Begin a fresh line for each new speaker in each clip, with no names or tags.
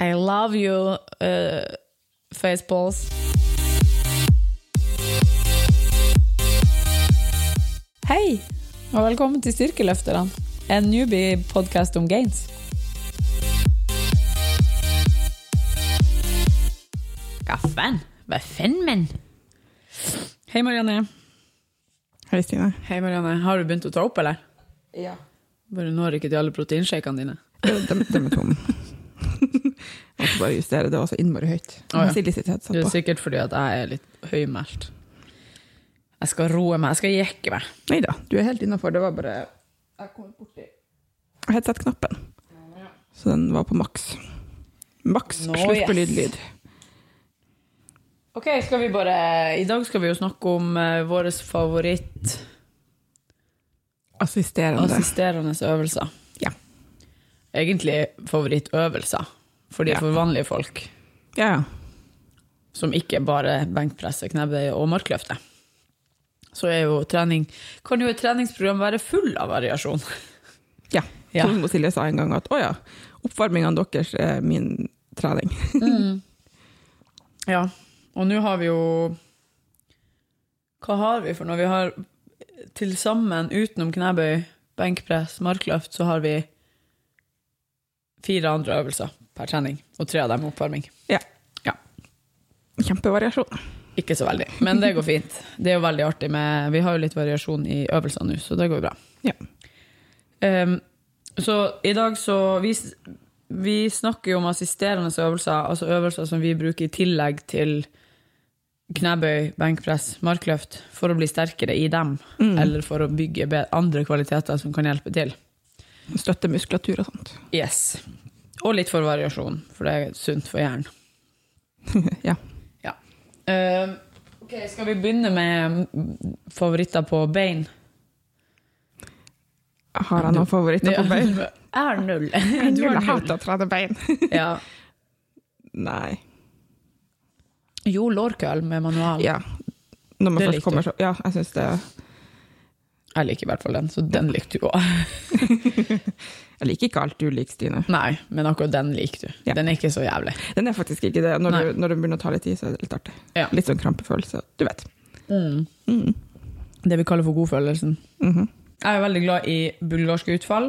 I love you, uh, faceballs.
Hei, og velkommen til Styrkeløfterne, en newbie-podkast om gains.
Gaffen. Hva fenn, men?
Hei, Marianne.
Hei, Stine.
Hei, Marianne. Har du begynt å ta opp, eller?
Ja.
Bare du når ikke til alle proteinshakene dine.
Dem, dem er tomme. Jeg måtte bare justere, det var så innmari høyt.
Å, ja.
Silje sitter headset
Det er
på.
sikkert fordi at jeg er litt høymælt. Jeg skal roe meg, jeg skal jekke meg.
Nei da, du er helt innafor. Det var bare Jeg kom borti headset-knappen, så den var på maks. Maks
Nå,
slutt på
yes.
lydlyd.
Ok, skal vi bare... I dag skal vi jo snakke om uh, våres favoritt
Assisterende.
assisterende øvelser.
Ja.
Egentlig favorittøvelser, for de
Ja.
for vanlige folk.
ja, ja.
som ikke bare benkpresse, knebøy og markløfte. Så er jo trening Kan jo et treningsprogram være full av variasjon?
Ja.
Ja.
Som Silje sa en gang, at å ja, oppvarmingene deres er min trening.
Mm. Ja. Og nå har vi jo Hva har vi for noe? Vi har til sammen, utenom knebøy, benkpress, markløft, så har vi fire andre øvelser per trening, og tre av dem oppvarming.
Ja.
Ja.
Kjempevariasjon.
Ikke så veldig, men det går fint. Det er jo veldig artig med Vi har jo litt variasjon i øvelsene nå, så det går jo bra.
Ja.
Ehm, så i dag så vi, s- vi snakker jo om assisterende øvelser, altså øvelser som vi bruker i tillegg til knebøy, benkpress, markløft, for å bli sterkere i dem, eller for å bygge be- andre kvaliteter som kan hjelpe til.
Støtte muskulatur og sånt.
Yes. Og litt for variasjon, for det er sunt for hjernen.
ja.
Ja. Ehm, ok, skal vi begynne med mm, favoritter på bein?
Har jeg noen favoritter på bein?
Er null.
Jeg
Du har null.
hater å trene bein.
Ja.
Nei.
Jo, lårkøll med manual.
Ja. Når man
Det
først
likte
kommer så Ja, jeg syns det
Jeg liker i hvert fall den, så den likte du òg.
Jeg liker ikke alt du liker, Stine.
Nei, men akkurat den liker du.
Ja.
Den er ikke så jævlig.
Den er faktisk ikke det. Når
Nei.
du, når du begynner å ta litt i, så er det litt artig.
Ja.
Litt sånn krampefølelse. Du vet.
Mm. Det vi kaller for godfølelsen.
Mhm.
Jeg er veldig glad i bulgarske utfall.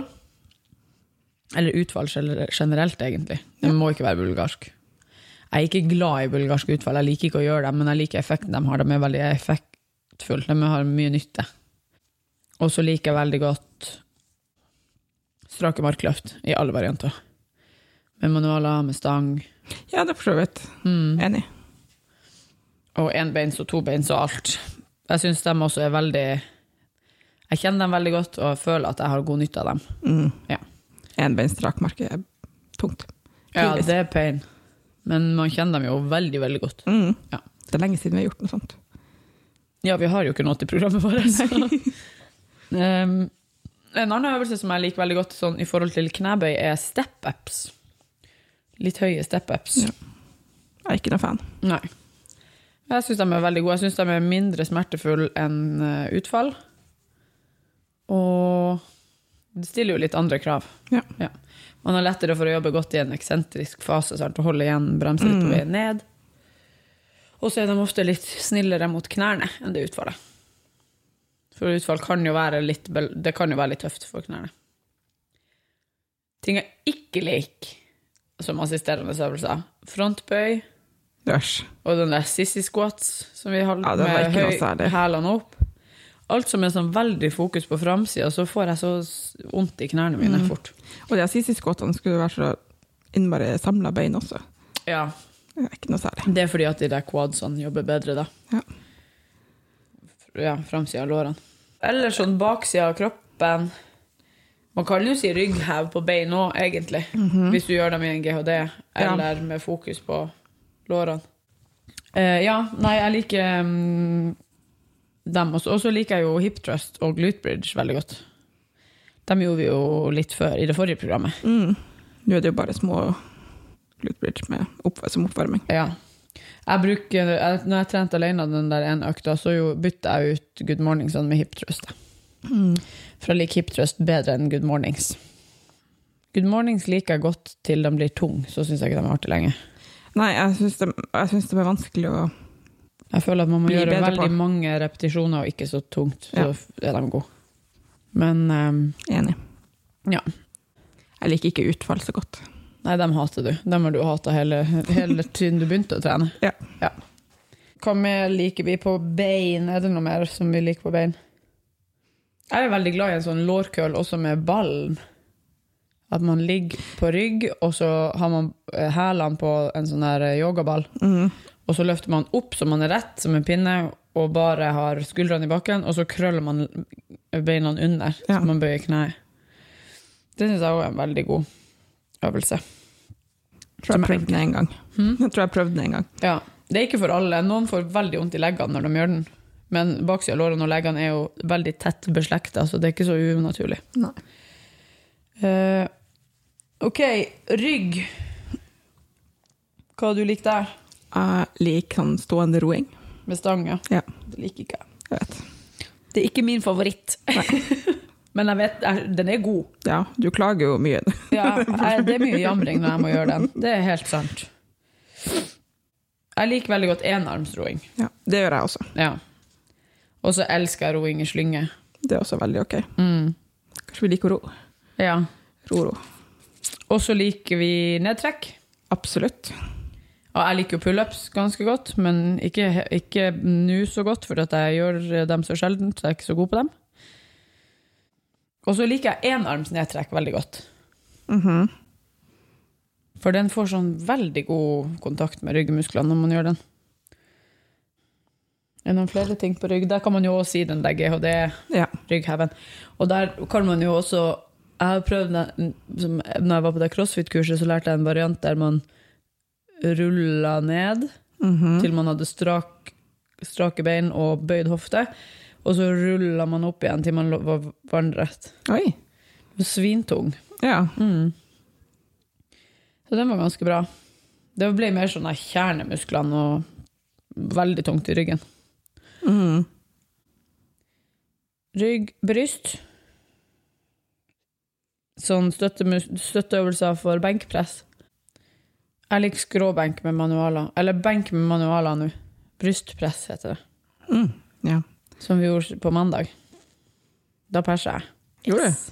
Eller utfall gener- generelt, egentlig. Det må ikke være bulgarsk. Jeg er ikke glad i bulgarske utfall, jeg liker ikke å gjøre dem, men jeg liker effekten de har. De er veldig effektfulle, de har mye nytte. Og så liker jeg veldig godt strake markløft i alle varianter. Med manualer, med stang.
Ja, det er for så vidt.
Mm.
Enig.
Og enbeins og tobeins og alt. Jeg syns de også er veldig Jeg kjenner dem veldig godt og føler at jeg har god nytte av dem.
Mm.
Ja.
Enbeinsstrakmarke er tungt.
Ja,
Tidvis.
det er pain, men man kjenner dem jo veldig, veldig godt.
Mm.
Ja.
Det er lenge siden vi har gjort noe sånt.
Ja, vi har jo ikke noe til programmet vårt. så. Em, en annen øvelse som jeg liker veldig godt sånn, i forhold til knebøy, er step-ups. Litt høye step-ups.
Ja. Jeg er ikke noe fan.
Nei. Jeg syns de er veldig gode. Jeg syns de er mindre smertefulle enn eh, utfall. Og det stiller jo litt andre krav.
Ja.
Man har lettere for å jobbe godt i en eksentrisk fase, sant? og holde igjen, bremse litt på veien ned. Og så er de ofte litt snillere mot knærne enn det utfallet. For utfall kan jo være litt, bel- det kan jo være litt tøft for knærne. Ting jeg ikke liker som assisterende øvelser, frontbøy,
Æsj.
og den der sissy squats som vi holdt
Ja, den var
med
ikke noe
høy
særlig.
hælene opp. Alt som er sånn veldig fokus på framsida, så får jeg så s- vondt i knærne mine
Mm.
fort.
Og de assisiskåtene skulle være så innmari samla bein også.
Ja,
Det er ikke noe særlig.
Det er fordi at de der quadsene jobber bedre, da.
Ja.
F- Ja, framsida av lårene. Eller sånn baksida av kroppen. Man kan jo si rygghev på bein òg, egentlig. Hvis du gjør dem i en GHD, eller med fokus på lårene. Eh, ja, nei, jeg liker mm, dem også. Og så liker jeg jo hip thrust og glute bridge veldig godt. Dem gjorde vi jo litt før i det forrige programmet.
Mm. Nå er det jo bare små glute bridge med opp, som oppvarming.
Ja. Jeg bruker, jeg, når jeg trente alene den der ene økta, så jo bytta jeg ut Good sånn Mornings Mm. med Hip Trust. da. For jeg liker Hip Trust bedre enn Good Mornings. Good mornings liker jeg godt til de blir tung, så syns jeg ikke de er artig lenge.
Nei, jeg syns det, jeg syns det var vanskelig å
Jeg føler at man må
Blir
gjøre
bedre
veldig
på.
mange repetisjoner og ikke så tungt, så
Ja.
er de gode. Men ehm,
Enig.
Ja.
Jeg liker ikke utfall så godt.
nei, dem hater du. Dem har du hata hele, hele tiden du begynte å trene.
Ja.
Hva mer liker vi på bein? Er det noe mer som vi liker på bein? Jeg er veldig glad i en sånn lårkøll også med ballen. At man ligger på rygg, og så har man eh, hælene på en sånn her eh, yogaball.
Mm.
Og så løfter man opp så man er rett som en pinne, og bare har skuldrene i bakken, og så krøller man beina under,
Ja.
så man bøyer kneet. Det syns jeg også er en veldig god øvelse. Hm?
Tror jeg prøvde den en gang. Jeg tror jeg prøvde den en gang.
Ja, Det er ikke for alle. Noen får veldig vondt i leggene når de gjør den. Men baksida av lårene og leggene er jo veldig tett beslekta, så det er ikke så unaturlig.
Nei.
Eh, OK, rygg. Hva du liker der?
Jeg liker sånn stående roing.
Med stanga?
Ja.
Det liker ikke jeg.
Jeg vet.
Det er ikke min favoritt. Men jeg vet, jeg, den er god.
Ja, du klager jo mye.
Ja, jeg, det er mye jamring når jeg må gjøre den. Det er helt sant. Jeg liker veldig godt enarmsroing.
Ja, det gjør jeg også.
Ja. Og så elsker jeg roing i slynge.
Det er også veldig ok.
Mm.
Kanskje vi liker å ro.
Ja.
Ro, ro.
Og så liker vi nedtrekk.
Absolutt.
Og jeg liker jo pullups ganske godt, men ikke, ikke nå så godt, for at jeg gjør dem så sjelden, så jeg er ikke så god på dem. Og så liker jeg enarms nedtrekk veldig godt.
Mhm.
For den får sånn veldig god kontakt med ryggmusklene når man gjør den. Er det noen flere ting på rygg? Der kan man jo også si den der
Ja.
GHD-ryggheven. Og der kan man jo også Jeg har prøvd den som, Når jeg var på det crossfit-kurset, så lærte jeg en variant der man rulla ned
Mhm.
til man hadde strak, strake bein og bøyd hofte. Og så rulla man opp igjen til man lå- var vannrett.
Oi.
Svintung.
Ja.
Mm. Så den var ganske bra. Det ble mer sånn av kjernemusklene og veldig tungt i ryggen.
Mhm.
Rygg, bryst. Sånn støttemus- støtteøvelser for benkpress. Jeg liker skråbenk med manualer. Eller benk med manualer nå. Brystpress heter det.
Mm. Ja.
Som vi gjorde på mandag. Da persa jeg.
Gjorde du?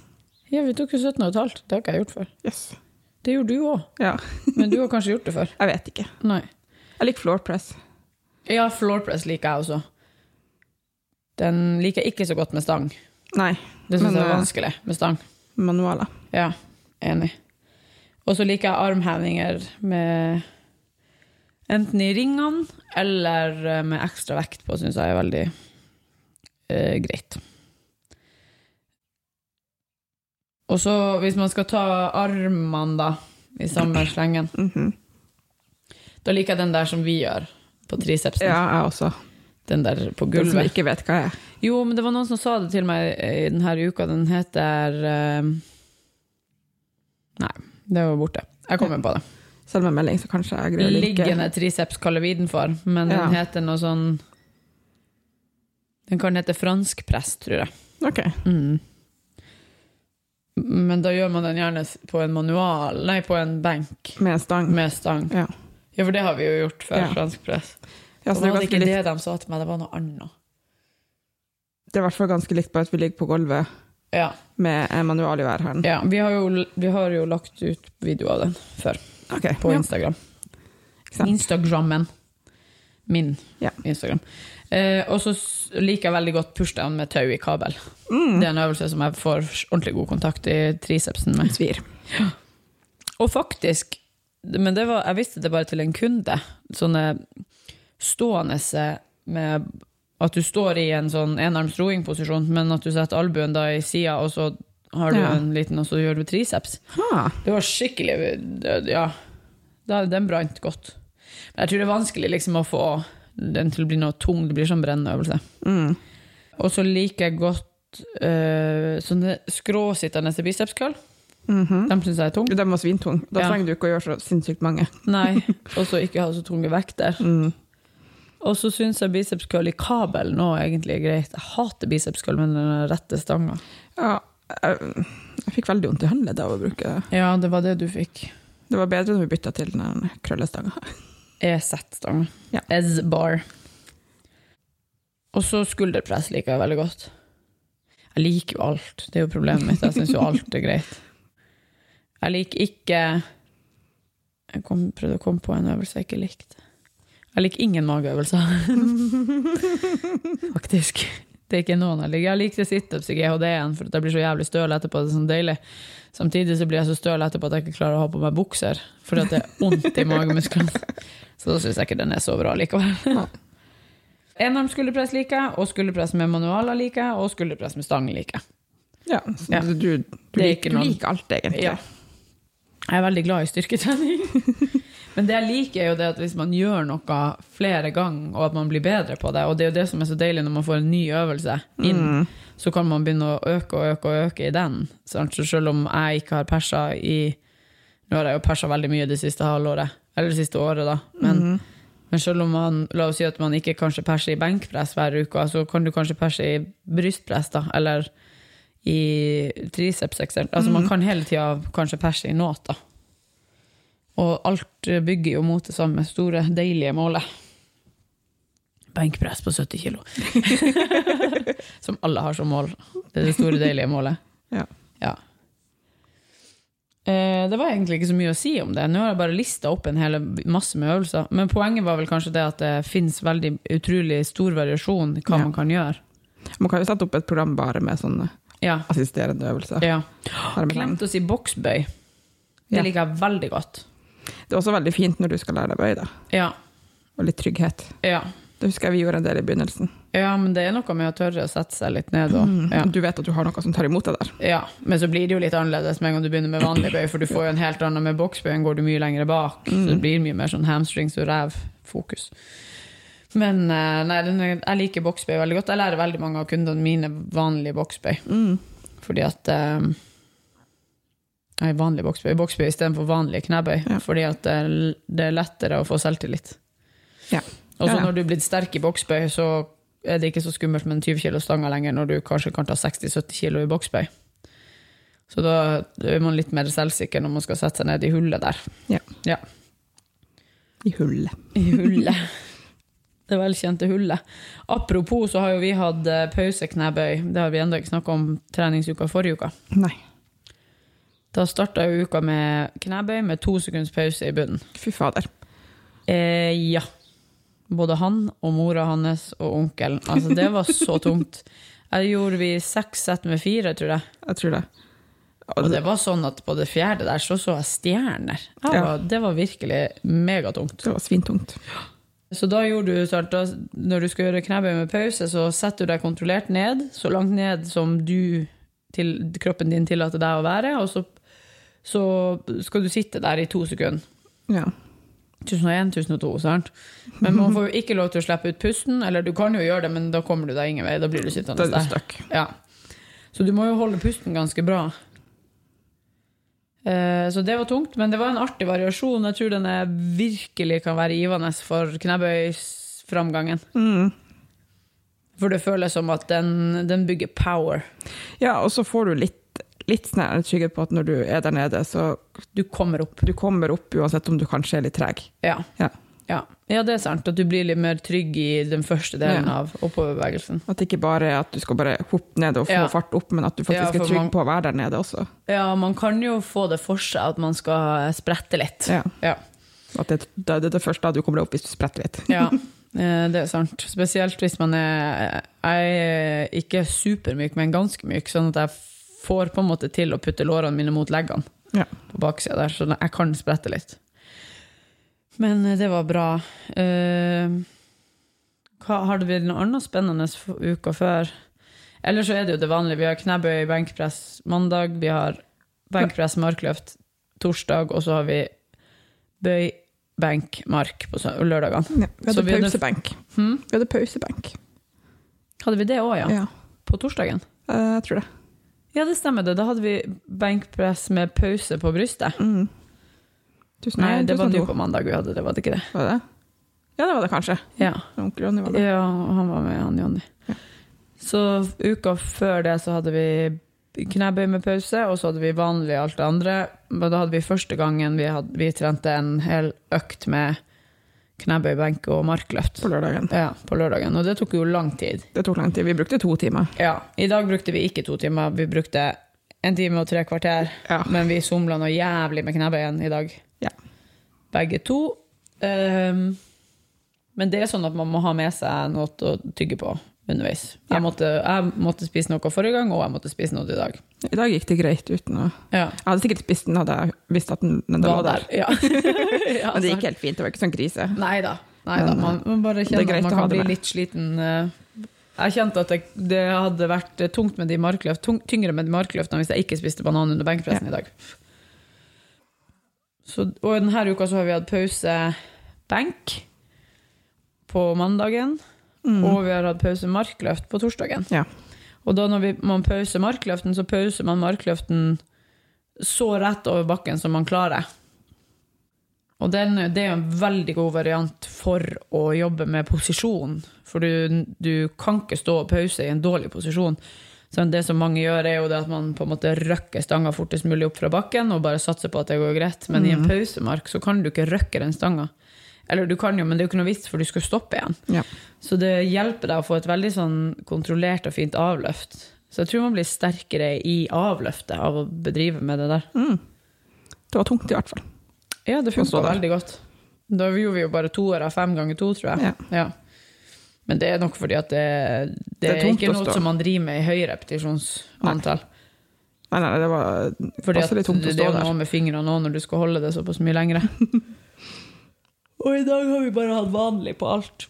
Ja, vi tok jo 17,5. Det har ikke jeg gjort før.
Yes.
Det gjorde du òg.
Ja.
Men du har kanskje gjort det før?
Jeg vet ikke.
Nei.
Jeg liker floor press.
Ja, floorpress liker jeg også. Den liker jeg ikke så godt med stang.
Nei,
Det syns
Men,
jeg er
eh,
vanskelig med stang.
manualer.
Ja, enig. Og så liker jeg armhevinger med enten i ringene eller eh, med ekstra vekt på, syns jeg er veldig eh, greit. Og så, hvis man skal ta armene, da, i samme slengen,
Mhm.
da liker jeg den der som vi gjør på tricepsen.
Ja, jeg også.
Den der på
Den som
gulvet.
ikke vet hva jeg er.
Jo, men det var noen som sa det til meg eh, i denne uka. Den heter eh, Nei, det var borte. Jeg kommer på det.
Selv med melding, så kanskje jeg greier å like.
Liggende triceps kaller vi den for, men
Ja.
den heter noe sånn Den kan hete fransk press, tror jeg.
Ok.
Mm. Men da gjør man den gjerne på en manual, nei, på en benk
Med stang.
med stang.
Ja.
Ja, for det har vi jo gjort før,
Ja.
fransk press.
Ja,
Og
så
det
det,
var
er ganske
ikke det
likt,
de sa til meg, det var noe annet.
det er i hvert fall ganske likt på at vi ligger på gulvet
Ja.
med en manual i hver hånd.
Ja, vi har, jo, vi har jo lagt ut video av den før,
Ok,
på
ja,
Instagram.
ikke sant?
Instagrammen. Min
Ja.
Instagram. Eh, og så s- liker jeg veldig godt pushdown med tau i kabel.
Mm.
Det er en øvelse som jeg får ordentlig god kontakt i tricepsen med.
Svir.
Og faktisk, men det var, jeg visste det bare til en kunde, sånne stående se- med at du står i en sånn enarms roingposisjon, men at du setter albuen da i sida, og så har du
Ja.
en liten, og så gjør du triceps.
Ha.
Det var skikkelig det- Ja. Da- Den brant godt. Men jeg tror det er vanskelig liksom å få den til å bli noe tung. Det blir sånn brennøvelse.
Mm.
Og så liker jeg godt eh, sånne skråsittende bicepskall.
Mhm.
De syns jeg er tung.
Den var svintung. Da
Ja.
trenger du ikke å gjøre så sinnssykt mange.
Nei. Og så ikke ha så tunge vekter.
Mm.
Og så syns jeg bicepskall i kabel nå egentlig er greit. Jeg hater bicepskall med den rette stanga.
Ja, eh, Jeg fikk veldig vondt i håndleddet av å bruke det.
Ja, det var det du fikk.
Det var bedre når vi bytta til den her krøllestanga.
E EZ-stang.
Ja.
Ez-bar. Og så skulderpress liker jeg veldig godt. Jeg liker jo alt. Det er jo problemet mitt. Jeg syns jo alt er greit. Jeg liker ikke Jeg kom, prøvde å komme på en øvelse jeg ikke likte. Jeg liker ingen mageøvelser. Faktisk. Det er ikke noen jeg liker. Jeg likte situps i GHD-en, for at jeg blir så jævlig støl etterpå. Det er sånn deilig. Samtidig så blir jeg så støl etterpå at jeg ikke klarer å ha på meg bukser, fordi at det er vondt i magemusklene. Så da syns jeg ikke den er så bra likevel. Enarm skulderpress liker jeg, og skulderpress med manualer liker jeg, og skulderpress med stang liker jeg.
Ja, så
Ja.
Du, du, du,
Det er
liker,
ikke
du
noen-
liker alt, egentlig.
Ja. Jeg er veldig glad i styrketrening. Men det jeg liker, er jo det at hvis man gjør noe flere ganger, og at man blir bedre på det, og det er jo det som er så deilig når man får en ny øvelse inn,
Mm.
så kan man begynne å øke og øke og øke i den. sant? Så selv om jeg ikke har persa i Nå har jeg jo persa veldig mye det siste halvåret, eller det siste året, da. Men, men selv om man, la oss si at man ikke kanskje perser i benkpress hver uke, så kan du kanskje perse i brystpress, da, eller i triceps, eksempel. Altså, Man kan hele tida kanskje perse i noe. Da. Og alt eh, bygger jo mot det samme store, deilige målet. Benkpress på 70 kilo. som alle har som mål. Det er det store, deilige målet.
Ja.
Ja. Eh, det var egentlig ikke så mye å si om det. Nå har jeg bare lista opp en hel masse med øvelser. Men poenget var vel kanskje det at det fins veldig utrolig stor variasjon i hva
Ja.
man kan gjøre.
Man kan jo sette opp et program bare med sånne
Ja.
assisterende øvelser.
ja.
Her med den.
Glemt å si boksbøy. Det
Ja.
liker jeg veldig godt.
Det er også veldig fint når du skal lære deg bøy, da.
Ja,
Og litt trygghet.
ja.
Det husker jeg vi gjorde en del i begynnelsen.
ja, men det er noe med å tørre å sette seg litt ned. Og,
Mm.
ja.
Du vet at du har noe som tar imot deg der.
Ja. Men så blir det jo litt annerledes med en gang du begynner med vanlig bøy, for du får jo en helt annen med boksbøy, enn går du mye lenger bak. Så det blir mye mer sånn hamstrings og rævfokus. Men eh, nei, den er, jeg liker boksbøy veldig godt. Jeg lærer veldig mange av kundene mine vanlig boksbøy.
Mm.
Fordi at eh, Nei, vanlig boksbøy. Boksbøy istedenfor vanlig knebøy.
Ja.
Fordi at det er l- det er lettere å få selvtillit.
Ja.
Og så
Ja, ja.
når du er blitt sterk i boksbøy, så er det ikke så skummelt med en 20 kilo stanga lenger, når du kanskje kan ta 60-70 kilo i boksbøy. Så da er man litt mer selvsikker når man skal sette seg ned i hullet der.
Ja.
Ja,
I hullet.
I hullet. Det velkjente hullet. Apropos så har jo vi hatt eh, pauseknebøy. Det har vi ennå ikke snakka om treningsuka forrige uka.
Nei.
Da starta jo uka med knebøy med to sekunds pause i bunnen.
Fy fader.
Eh, ja. Både han og mora hans og onkelen. Altså, det var så tungt. Jeg gjorde vi seks sett med fire, tror jeg.
Jeg tror det.
Og det var sånn at på det fjerde der så så jeg stjerner. Det
Ja.
var, det var virkelig megatungt.
Det var svintungt.
Så da gjorde du sant, da, Når du skal gjøre knebøy med pause, så setter du deg kontrollert ned, så langt ned som du til, kroppen din tillater deg å være, og så, så skal du sitte der i to sekunder.
Ja.
1001, 1002, sant? Men man får jo ikke lov til å slippe ut pusten, eller du kan jo gjøre det, men da kommer du deg ingen vei, da blir du
Da
sittende
er du
der.
stuck.
Ja. Så du må jo holde pusten ganske bra. Eh, Så det var tungt, men det var en artig variasjon. Jeg tror den er virkelig kan være givende for knebøysframgangen.
Mm.
For det føles som at den, den bygger power.
Ja, og så får du litt, litt sånn her trygghet på at når du er der nede, så
Du kommer opp.
du kommer opp uansett om du kanskje er litt treg.
Ja.
Ja.
Ja. ja, det er sant. At du blir litt mer trygg i den første delen
Ja.
av oppoverbevegelsen.
At det ikke bare er at du skal bare hoppe ned og få
Ja.
fart opp, men at du
Ja,
faktisk
for
er trygg
man-
på å være der nede også.
Ja, man kan jo få det for seg at man skal sprette litt.
Ja.
Ja.
At det, da- det er det første da du kommer deg opp hvis du spretter litt.
Ja, eh, det er sant. Spesielt hvis man er Jeg er ikke supermyk, men ganske myk, sånn at jeg får på en måte til å putte lårene mine mot leggene
Ja.
på baksida der, så jeg kan sprette litt. Men eh, det var bra. Eh, hva, har det blitt noe annet spennende f- uka før? Eller så er det jo det vanlige. Vi har knebøy, benkpress mandag, vi har benkpress, markløft torsdag, og så har vi bøy, benk, mark på sø- lørdagene.
Ja. Vi
Så
hadde
vi hadde-
pausebenk.
Hmm?
Vi hadde pausebenk.
Hadde vi det òg, ja.
Ja.
På torsdagen?
Eh, Jeg tror det.
Ja, det stemmer det. Da hadde vi benkpress med pause på brystet.
Mm. Tusen,
Nei, det var
tusen
du
to.
på mandag vi hadde det, var det ikke det?
Var det det? Ja, det var det kanskje.
Ja,
Onkel Ronny var der.
ja han var med, han Jonny. Så uka før det så hadde vi knebøy med pause, og så hadde vi vanlig alt det andre. Men da hadde vi første gangen vi, hadde, vi trente en hel økt med knebøy, benk og markløft.
på lørdagen.
Ja, på lørdagen. Og det tok jo lang tid.
Det tok lang tid. Vi brukte to timer.
Ja, I dag brukte vi ikke to timer, vi brukte en time og tre kvarter.
Ja.
Men vi somla noe jævlig med knebøyen i dag,
Ja.
begge to. Ehm, men det er sånn at man må ha med seg noe å tygge på underveis. Jeg måtte, jeg måtte spise noe forrige gang, og jeg måtte spise noe i dag.
I dag gikk det greit uten å
Ja,
Jeg hadde sikkert spist den hadde jeg visst at den, den var der.
Ja. ja, altså.
Men det gikk helt fint. Det var ikke sånn krise.
Nei da. Nei da.
Men,
Man, man bare
det er
kjenner at
greit
man
å ha
kan
det
bli
med.
litt sliten. eh. Jeg kjente at det, det hadde vært eh, tungt med de markløft, tung, tyngre med de markløftene hvis jeg ikke spiste banan under benkpressen i dag. Så, og denne uka så har vi hatt pause benk på mandagen,
Mm.
og vi har hatt pause markløft på torsdagen.
Ja.
Og da når vi, man pauser markløften, så pauser man markløften så rett over bakken som man klarer. Og den, det er jo en veldig god variant for å jobbe med posisjon. For du, du kan ikke stå og pause i en dårlig posisjon. Så det som mange gjør, er jo det at man på en måte røkker stanga fortest mulig opp fra bakken og bare satser på at det går greit. Men i en pausemark så kan du ikke røkke den stanga. Eller du kan jo, men det er jo ikke noe vits, for du skal stoppe igjen.
Ja.
Så det hjelper deg å få et veldig sånn kontrollert og fint avløft. Så jeg tror man blir sterkere i avløftet av å bedrive med det der.
Mm. Det var tungt, i hvert fall.
Ja, det
Og så
funka
der.
veldig godt. Da gjorde vi jo bare toere av fem ganger to, tror jeg. Ja. Men det er nok fordi at det, det,
Det er
er
tungt
ikke
å
noe
stå.
som man driver med i høy repetisjonsantall.
Nei, nei, det var
Fordi
også litt
at
tungt å
det
stå
er jo
der.
noe med fingrene òg når du skal holde det såpass mye lengre. Og i dag har vi bare hatt vanlig på alt.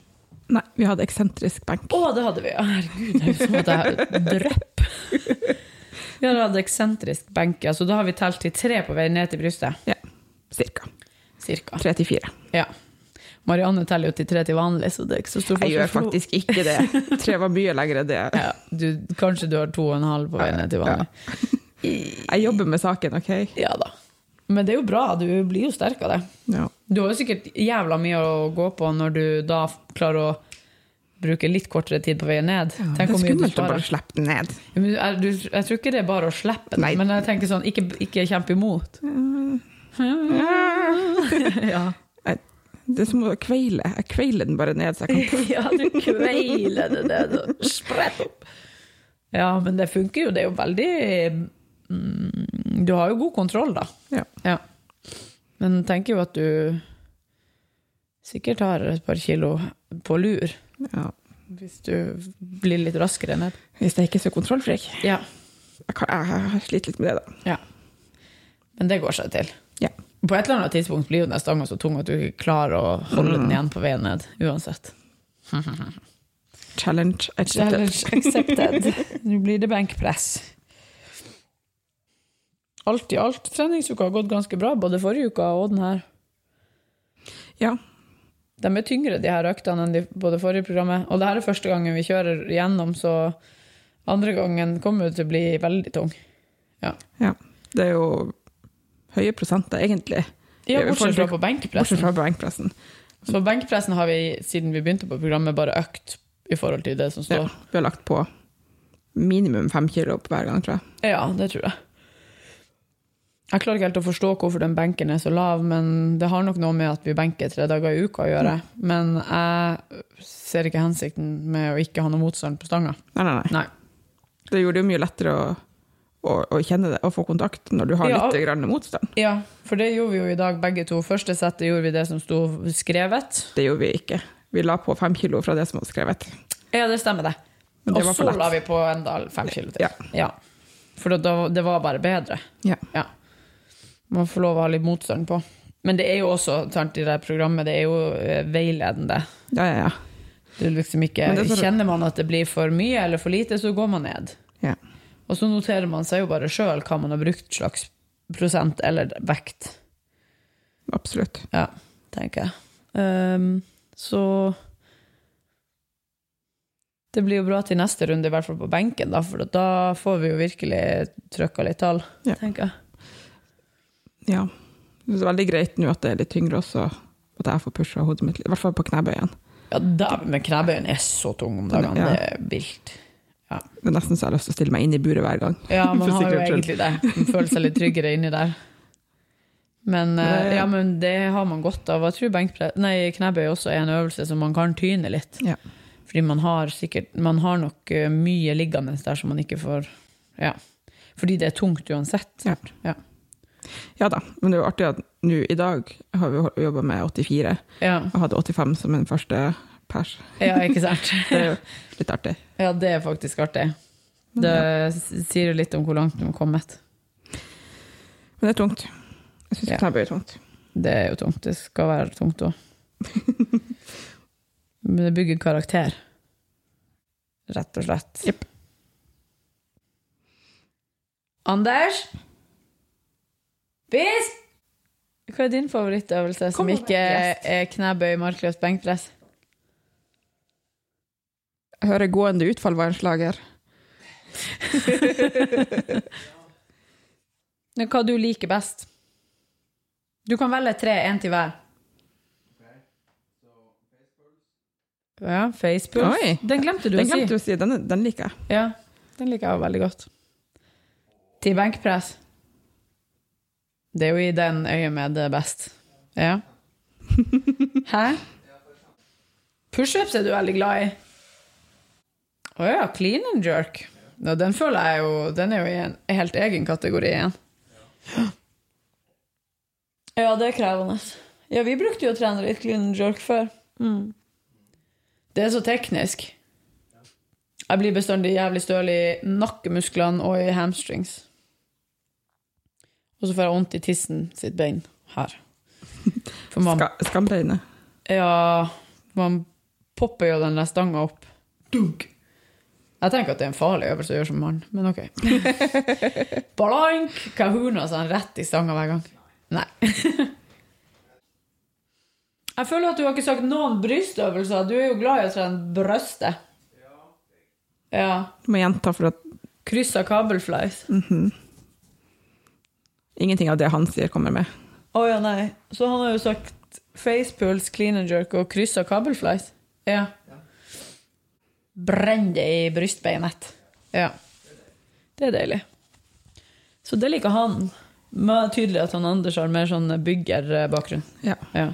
Nei, vi hadde eksentrisk benk.
Å, det hadde vi. ja. Herregud, det er jo som at jeg drøpp. Vi hadde hatt eksentrisk benke, så da har vi telt til tre på vei ned til brystet.
Ja, Cirka.
Cirka.
Tre til fire.
Ja. Marianne teller jo til tre til vanlig, så det er ikke så stor
Jeg gjør
for henne.
faktisk ikke det. Tre var mye lenger enn det.
Ja, du, kanskje du har to og en halv på vei ned til vanlig.
Jeg jobber med saken, OK?
Ja da. Men det er jo bra, du blir jo sterk av det.
Ja.
Du har jo sikkert jævla mye å gå på når du da klarer å bruke litt kortere tid på veien ned.
det
Tenk
er
hvor mye du
skummelt å bare
sparer.
slippe den ned.
Men jeg, du, jeg tror ikke det er bare å slippe,
Nei. Mm.
det, men jeg tenker sånn, ikke, ikke kjempe imot. ja.
Jeg, det er som å kveile. Jeg kveiler den bare ned, så jeg kan
ja, du kveiler det ned og spredt opp. Ja, men det funker jo. Det er jo veldig mm, Du har jo god kontroll, da.
Ja.
ja. Men jeg tenker jo at du sikkert har et par kilo på lur.
ja.
Hvis du blir litt raskere ned.
Hvis jeg ikke er så kontrollfrik.
Ja.
Jeg, kan, jeg, jeg sliter litt med det, da.
ja. Men det går seg til.
Ja.
På et eller annet tidspunkt blir jo den stanga så tung at du ikke klarer å holde den igjen på veien ned. Uansett.
Challenge accepted.
Challenge accepted. Nå blir det benkpress. Alt i alt, treningsuka har gått ganske bra, både forrige uka og den her.
Ja.
De er tyngre, de her øktene, enn de på det forrige programmet. Og det her er første gangen vi kjører gjennom, så andre gangen kommer det til å bli veldig tung.
ja. Det er jo høye prosenter, egentlig.
Ja,
Ja,
bortsett fra
forrige-
på benkpressen.
Bortsett fra benkpressen.
Så benkpressen har vi siden vi begynte på programmet bare økt i forhold til det som
Ja.
står.
Vi har lagt på minimum fem kilo på hver gang, tror jeg.
Ja, det tror jeg. Jeg klarer ikke helt å forstå hvorfor den benken er så lav, men det har nok noe med at vi benker tre dager i uka å gjøre. Men jeg ser ikke hensikten med å ikke ha noe motstand på stanga.
Nei, nei, nei.
Nei.
Det gjorde det jo mye lettere å, å, å kjenne det og få kontakt når du har
Ja.
litt grann motstand.
Ja, for det gjorde vi jo i dag begge to. Første settet gjorde vi det som sto skrevet.
Det gjorde vi ikke. Vi la på fem kilo fra det som var skrevet.
Ja, det stemmer det.
Men det var
Og
for
så
lett.
la vi på enda fem kilo til.
Ja.
ja. For da, det var bare bedre.
Ja.
Ja. Man får lov å ha litt motstand på. Men det er jo også, sant, i det her programmet, det er jo eh, veiledende.
Ja, ja, ja.
Det er liksom ikke,
Men det er for-
Kjenner man at det blir for mye eller for lite, så går man ned.
Ja.
Og så noterer man seg jo bare sjøl hva man har brukt slags prosent eller vekt.
Absolutt.
Ja, tenker jeg. Ehm, så Det blir jo bra til neste runde, i hvert fall på benken, da, for da får vi jo virkelig trykka litt tall,
Ja.
tenker jeg.
Ja. Det er veldig greit nå at det er litt tyngre også, at jeg får pusha hodet mitt litt. I hvert fall på knebøyen.
Ja, da, men knebøyen er så tung om dagene.
Ja.
Det er vilt. Ja. Ja.
Det er nesten så jeg har lyst til å stille meg inn i buret hver gang.
Ja, man
For
har jo
sikkerhets skyld.
egentlig det. Man føler seg litt tryggere inni der. Men, eh,
Det-
ja, men det har man godt av. Jeg tror benkpre- nei, knebøy også er en øvelse som man kan tyne litt.
Ja.
Fordi man har, sikkert, man har nok eh, mye liggende der som man ikke får ja. Fordi det er tungt uansett.
Ja.
sant? Ja.
Ja da, men det er jo artig at nå i dag har vi jobba med 84.
Ja.
Jeg hadde 85 som en første pers.
ja, ikke sant?
Det er jo litt artig.
Ja, det er faktisk artig.
Men
Det s- sier jo litt om hvor langt du har kommet.
Men det er tungt. Jeg syns
Ja.
knebøy er tungt.
Det er jo tungt. Det skal være tungt òg. Men det bygger karakter, rett og slett.
Jepp.
Anders? Bisp! Hva er din favorittøvelse som
Kom og
ikke
vær gjest.
er knebøy, markløft, benkpress?
Jeg hører gående utfall var en slager.
Men Hva du liker best? Du kan velge tre, én til hver. Ja, facepulse.
Oi.
Den glemte du
Den
å si.
glemte du å si. Den, den liker jeg.
Ja, den liker jeg også veldig godt. Til benkpress. Det er jo i den øyet med det er best. Ja. Hæ? Pushups er du veldig glad i. Å ja, clean and jerk. Ja, den føler jeg jo Den er jo i en helt egen kategori igjen. Ja, det er krevende. Ja, vi brukte jo å trene litt clean and jerk før. Mm. Det er så teknisk. Jeg blir bestandig jævlig støl i nakkemusklene og i hamstrings. Og så får jeg vondt i tissen sitt bein her. For man,
Ska, skambeinet.
ja, man popper jo den der stanga opp. Dunk! Jeg tenker at det er en farlig øvelse å gjøre som mann, men ok. Balank! Kahuna sa han rett i stanga hver gang. Nei. Jeg føler at du har ikke sagt noen brystøvelser. Du er jo glad i å trene brøstet. Ja.
Du må gjenta, for at
Kryss av kabelflies. Å
ingenting av det han sier, kommer med.
ja, nei. Så han har jo sagt facepulse, clean and jerk og kryss av kabelflies. Ja. Brenn det i brystbeinet. Ja. Det er deilig. Så det liker han. Men det er tydelig at han Anders har mer sånn byggerbakgrunn.
Ja.
Ja.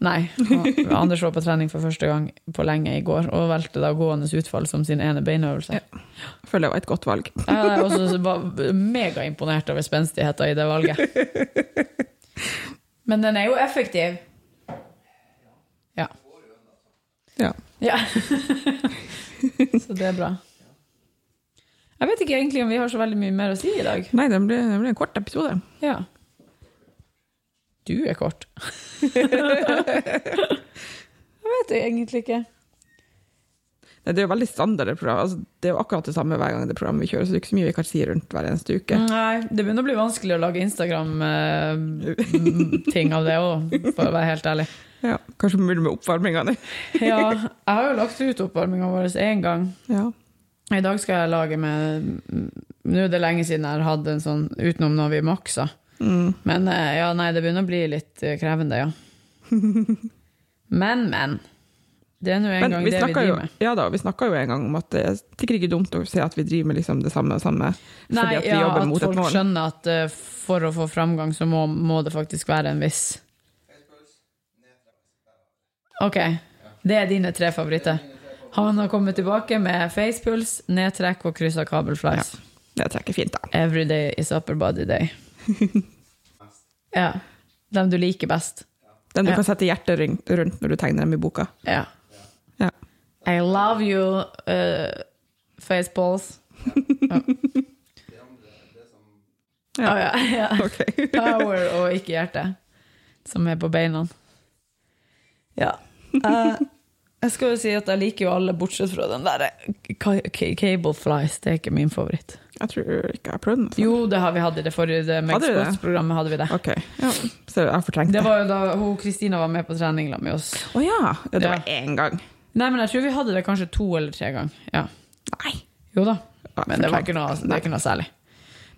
Nei. han- Anders var på trening for første gang på lenge i går og valgte da gående utfall som sin ene beinøvelse.
Føler det var et godt valg.
Jeg er også var megaimponert over spenstigheten i det valget. Men den er jo effektiv. Ja.
Ja.
ja. Så det er bra. Jeg vet ikke egentlig om vi har så veldig mye mer å si i dag.
Nei, det blir, det blir en kort episode.
Ja. Du er kort. Jeg vet egentlig ikke.
Nei, det er jo veldig standard det program. Altså, det er jo akkurat det samme hver gang det programmet vi kjører, så det er ikke så mye vi kan si rundt hver eneste uke.
Nei, det begynner å bli vanskelig å lage Instagram-ting av det òg, for å være helt ærlig.
Ja. Kanskje mulig med oppvarminga di.
Ja, jeg har jo lagt ut oppvarminga vår én gang.
Ja.
I dag skal jeg lage med Nå er det lenge siden jeg har hatt en sånn utenom når vi maksa.
Mm.
Men eh, ja, nei, det begynner å bli litt eh, krevende, ja. Men, men. Det er nå en
Men
gang
vi
det vi
snakker jo,
driver med.
ja da, vi snakka jo en gang om at det er sikkert ikke dumt å se at vi driver med liksom det samme og samme,
Nei,
fordi at vi
ja,
jobber
at
mot et
folk
mål.
skjønner at eh, for å få framgang, så må, må det faktisk være en viss Ok. Det er dine tre favoritter. Han har kommet tilbake med facepuls, nedtrekk og kryssa kabelflies.
Det trekker fint, da.
Every day is upper body day. ja. Dem du liker best.
Den du
Ja.
kan sette hjertet rundt, rundt når du tegner dem i boka.
Ja.
Ja.
I love you, uh, faceballs.
Ja.
Å ja. ja.
Ok.
Power og ikke hjerte, som er på beina. Ja. Eh, jeg skal jo si at jeg liker jo alle, bortsett fra den derre ca- ca- Cable Flies. Det er ikke min favoritt.
Jeg tror ikke jeg har prøvd den.
Jo, det har vi hatt i det forrige det
Hadde vi det?
Megsports-programmet. hadde vi det.
Ok, ja. Så jeg har fortrengt
Det
det. Å
var jo da hun Kristina var med på trening sammen med oss.
ja. ja! Det
Ja.
var én gang.
Nei, men jeg tror vi hadde det kanskje to eller tre ganger. Ja.
Nei.
Jo da.
Ja,
Men det var
fortrengt.
ikke noe, det er ikke noe særlig.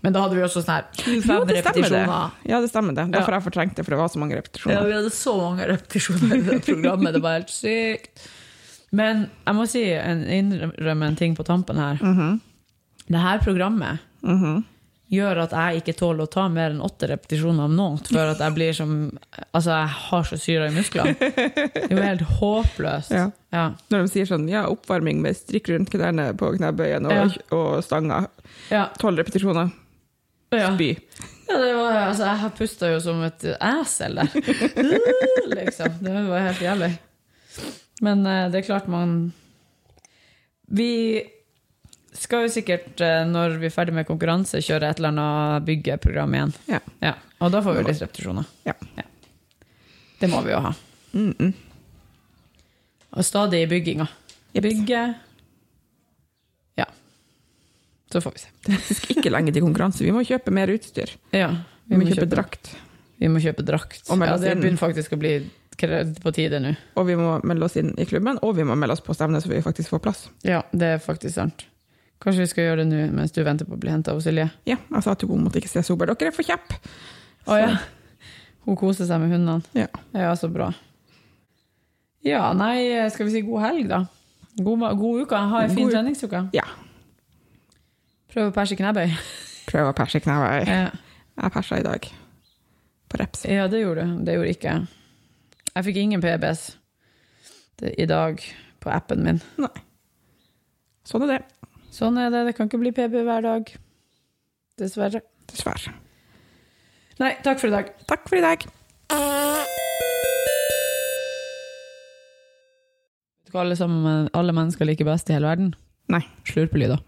Men da hadde vi også sånn her 25
det stemmer det.
repetisjoner.
Ja, det stemmer det.
Ja.
Derfor har jeg fortrengt det, for det var så mange
Ja,
repetisjoner.
vi hadde så mange repetisjoner i det programmet. Det var helt sykt. Men jeg må si en, innrømme en ting på tampen her. Det her programmet
Mhm.
gjør at jeg ikke tåler å ta mer enn åtte repetisjoner av noe før at jeg blir som Altså, jeg har så syre i musklene. Det er jo helt håpløst.
Ja.
Ja.
Når de sier sånn ja, oppvarming med strikk rundt knærne på knebøyen og, og stanga.
Ja.
Tolv repetisjoner.
Ja.
Spy.
Ja, det var, altså, jeg pusta jo som et esel der. liksom. Det var helt jævlig. Men eh, det er klart man Vi skal jo sikkert, eh, når vi er ferdig med konkurranse, kjøre et eller annet byggeprogram igjen.
Ja.
Ja, Og da får vi litt repetisjoner.
Ja.
Det må vi jo ha.
Mm -mm.
Og stadig i bygginga.
Jepp.
Bygge Ja. Så får vi se.
Det er faktisk ikke lenge til konkurranse. Vi må kjøpe mer utstyr.
Ja,
Vi må kjøpe drakt.
vi må kjøpe drakt.
Og melde
Ja,
oss
det
inn.
begynner faktisk å bli kre- på tide nå.
Og vi må melde oss inn i klubben, og vi må melde oss på stevne så vi faktisk får plass.
Ja, det er faktisk sant. Kanskje vi skal gjøre det nå mens du venter på å bli henta av Silje.
Ja, jeg sa at hun måtte ikke se sober. Dere er for kjappe!
Å ja. Hun koser seg med hundene.
Ja.
Ja, så bra. Ja, nei, skal vi si god helg, da? God, ma- god uke. Ha en fin
God u-
treningsuke.
Ja.
Prøv å perse knebøy.
Prøv å perse knærne.
Eh,
Jeg persa i dag. På reps.
Ja, det gjorde du. Det gjorde ikke jeg. Jeg fikk ingen PBS det- i dag på appen min.
Sånn er det.
Sånn er det. Det kan ikke bli PB hver dag. Dessverre.
Dessverre.
Nei, takk for i dag.
Takk for i dag. Eh.
Vet du hva alle, sammen, alle mennesker liker best i hele verden?
Nei.
Slurpelyder.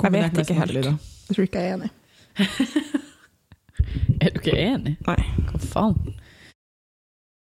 Jeg vet ikke helt.
Kombinert med
Jeg tror ikke jeg er enig.
smakelyder. Er du ikke enig?
Nei.
Hva faen?